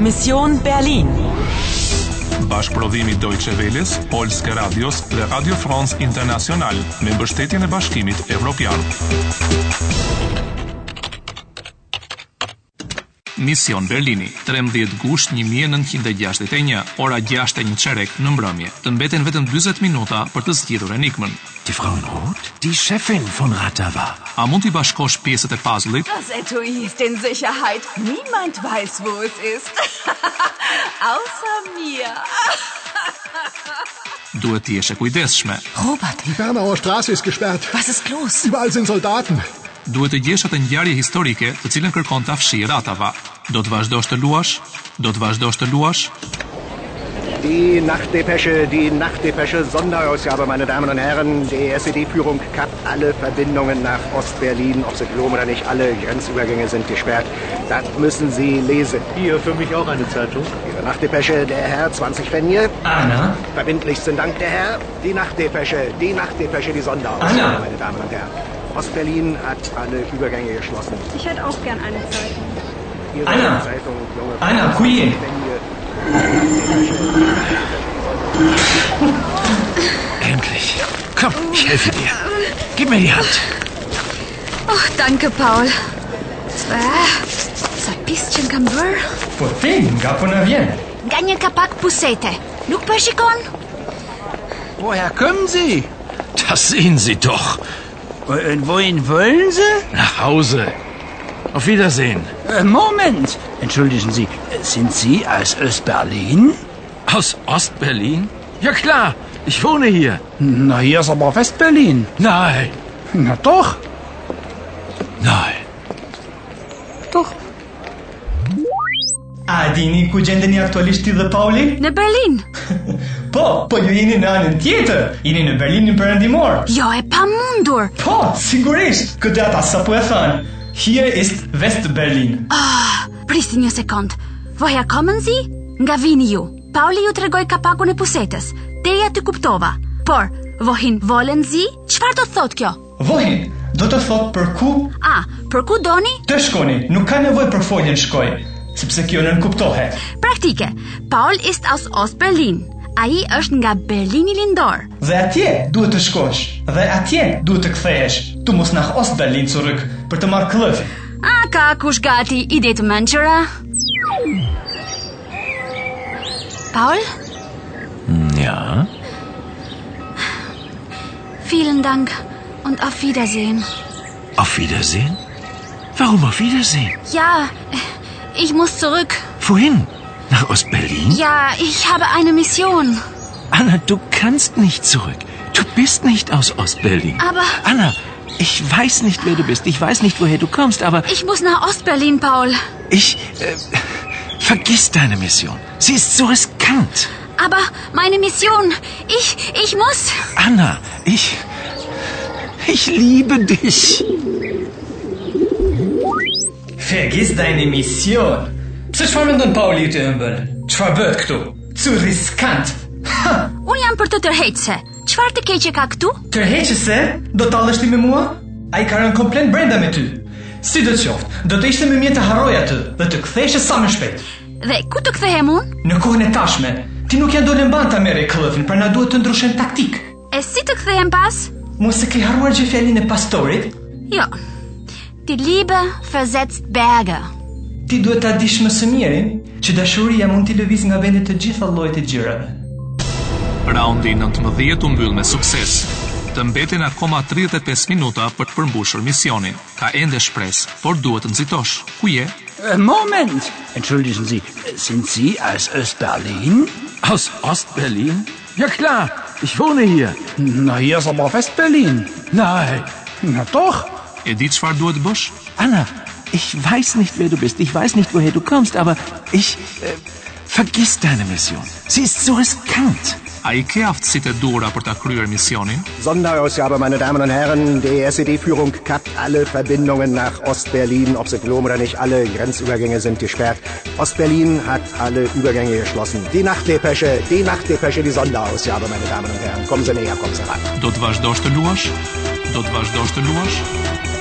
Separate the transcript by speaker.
Speaker 1: Mission Berlin.
Speaker 2: Bashkëprodhimi Deutsche Welles, Polske Radios dhe Radio France International me mbështetjen e Bashkimit Evropian. Mision Berlini, 13 gusht 1961, ora 6:01 çerek në mbrëmje. Të mbeten vetëm 40 minuta për të zgjidhur enigmën.
Speaker 3: Die Frau in Rot? Die Chefin von Ratava.
Speaker 2: A mund t'i bashkosh pjesët e puzzle-it?
Speaker 4: Das Etui ist in Sicherheit. Niemand weiß, wo es ist. Außer mir.
Speaker 2: Duhet të jesh e kujdesshme.
Speaker 5: Robert,
Speaker 6: Die Bernauer Straße ist gesperrt.
Speaker 5: was ist los?
Speaker 6: Überall sind Soldaten.
Speaker 2: Duhet të gjesh atë ngjarje historike të cilën kërkon ta fshi Ratava. Do të vazhdosh të luash? Do të vazhdosh të luash?
Speaker 7: Die Nachtdepesche, die Nachtdepesche, Sonderausgabe, meine Damen und Herren. Die SED-Führung kappt alle Verbindungen nach Ostberlin, ob sie glauben oder nicht. Alle Grenzübergänge sind gesperrt. Das müssen Sie lesen.
Speaker 8: Hier, für mich auch eine Zeitung.
Speaker 7: Ihre Nachtdepesche, der Herr, 20 Fenje.
Speaker 3: Anna?
Speaker 7: Verbindlichsten Dank, der Herr. Die Nachtdepesche, die Nachtdepesche, die Sonderausgabe,
Speaker 3: Anna.
Speaker 7: meine Damen und Herren. Ostberlin hat alle Übergänge geschlossen.
Speaker 9: Ich hätte auch gern eine Zeitung.
Speaker 7: Ihre
Speaker 3: Anna.
Speaker 7: Zeitung, junge
Speaker 3: Anna,
Speaker 7: Frau,
Speaker 3: Kuye.
Speaker 7: 20 Fenje.
Speaker 3: Endlich. Komm, ich helfe dir. Gib mir die Hand.
Speaker 9: Oh, danke, Paul. Äh, Sa pisqen kam bërë?
Speaker 3: Po ti nga po na vjen.
Speaker 9: Nga një kapak pusete. Nuk po e shikon?
Speaker 8: Woher kommen Sie?
Speaker 3: Das sehen Sie doch.
Speaker 8: Und äh, wohin wollen Sie?
Speaker 3: Nach Hause. Auf Wiedersehen.
Speaker 8: Äh, Moment. Entschuldigen Sie, äh, sind Sie aus Ostberlin?
Speaker 3: Aus Ostberlin? Ja klar, ich wohne hier.
Speaker 8: Na, hier ist aber Westberlin.
Speaker 3: Nein,
Speaker 8: Na doch.
Speaker 3: nein.
Speaker 8: Doch.
Speaker 10: A dini ku gjendeni aktualisht ti dhe Pauli?
Speaker 9: Në Berlin.
Speaker 10: Po, po ju jeni në anën tjetër. Jeni në Berlinin Perëndimor.
Speaker 9: Jo, e pamundur.
Speaker 10: Po, sigurisht. Këtë data sapo e thën. Hier ist West-Berlin.
Speaker 9: Prisi një sekond. Voja komën zi? Nga vini ju. Pauli ju tregoj kapakun e pusetes. Teja ty kuptova. Por, vohin volen zi? Çfarë do të thot kjo?
Speaker 10: Vohin, do të thot për ku
Speaker 9: A, për ku doni?
Speaker 10: të shkoni. Nuk ka nevojë për foljen shkoj, sepse kjo nën kuptohet.
Speaker 9: Praktike. Paul ist aus Ostberlin. Ai është nga Berlini Lindor.
Speaker 10: Dhe atje duhet të shkosh, dhe atje duhet të kthehesh. Tu mos nach Ost-Berlin zurück për të marrë klëf.
Speaker 9: A ka kush gati ide të mençura? Paul,
Speaker 3: Ja?
Speaker 9: vielen Dank und auf Wiedersehen.
Speaker 3: Auf Wiedersehen? Warum auf Wiedersehen?
Speaker 9: Ja, ich muss zurück.
Speaker 3: Wohin? Nach Ostberlin?
Speaker 9: Ja, ich habe eine Mission.
Speaker 3: Anna, du kannst nicht zurück. Du bist nicht aus Ostberlin.
Speaker 9: Aber-
Speaker 3: Anna, ich weiß nicht, wer du bist. Ich weiß nicht, woher du kommst, aber
Speaker 9: Ich muss nach Ostberlin, Paul.
Speaker 3: ich. Äh, vergiss deine Mission. Sie ist so riskant.
Speaker 9: Aber meine Mission, ich, ich muss.
Speaker 3: Anna, ich. Ich liebe dich.
Speaker 10: Vergiss deine Mission. Pse çfarë mendon Pauli të ëmbël? Çfarë bëhet këtu? Cu riskant. Ha,
Speaker 9: Unë jam për të tërheqse. Çfarë të keqe ka këtu?
Speaker 10: tërheqëse do tallesh ti me mua? Ai ka rënë komplet brenda me ty. Si do të qoftë, do të ishte me mje të harroj atë dhe të ktheheshe sa më shpejt.
Speaker 9: Dhe ku të kthehem unë?
Speaker 10: Në kohën e tashme, ti nuk janë dole mban ta merre klëfin, pra na duhet të ndryshojmë taktik.
Speaker 9: E si të kthehem pas?
Speaker 10: Mos e ke harruar gjë fjalin e pastorit?
Speaker 9: Jo. Die Liebe versetzt Berge.
Speaker 10: Ti duhet ta dish më së miri që dashuria mund t'i lëviz nga vende të gjitha llojet e gjërave.
Speaker 2: Raundi 19 u mbyll me sukses. Të mbeten akoma 35 minuta për të përmbushur misionin. Ka ende shpresë, por duhet të nxitosh. Ku je?
Speaker 8: Äh, Moment. Entschuldigen Sie, äh, sind Sie aus Ostberlin?
Speaker 3: Aus Ostberlin? Ja klar, ich wohne hier.
Speaker 8: Na, hier ist aber Westberlin.
Speaker 3: Nein.
Speaker 8: Na doch.
Speaker 2: E di çfarë duhet të bësh?
Speaker 3: Anna, ich weiß nicht, wer du bist. Ich weiß nicht, woher du kommst, aber ich. Äh, vergiss deine Mission. Sie ist so riskant.
Speaker 2: A i ke aftësitë e duhura për ta kryer misionin?
Speaker 7: Sonderausgabe, meine Damen und Herren. Die SED-Führung kappt alle Verbindungen nach Ostberlin, ob sie glauben oder nicht. Alle Grenzübergänge sind gesperrt. Ostberlin hat alle Übergänge geschlossen. Die Nachtdepesche, die Nachtdepesche, die Sonderausgabe, meine Damen und Herren. Kommen Sie näher, kommen Sie ran.
Speaker 2: Do të vazhdosh të luash? Do të vazhdosh të luash?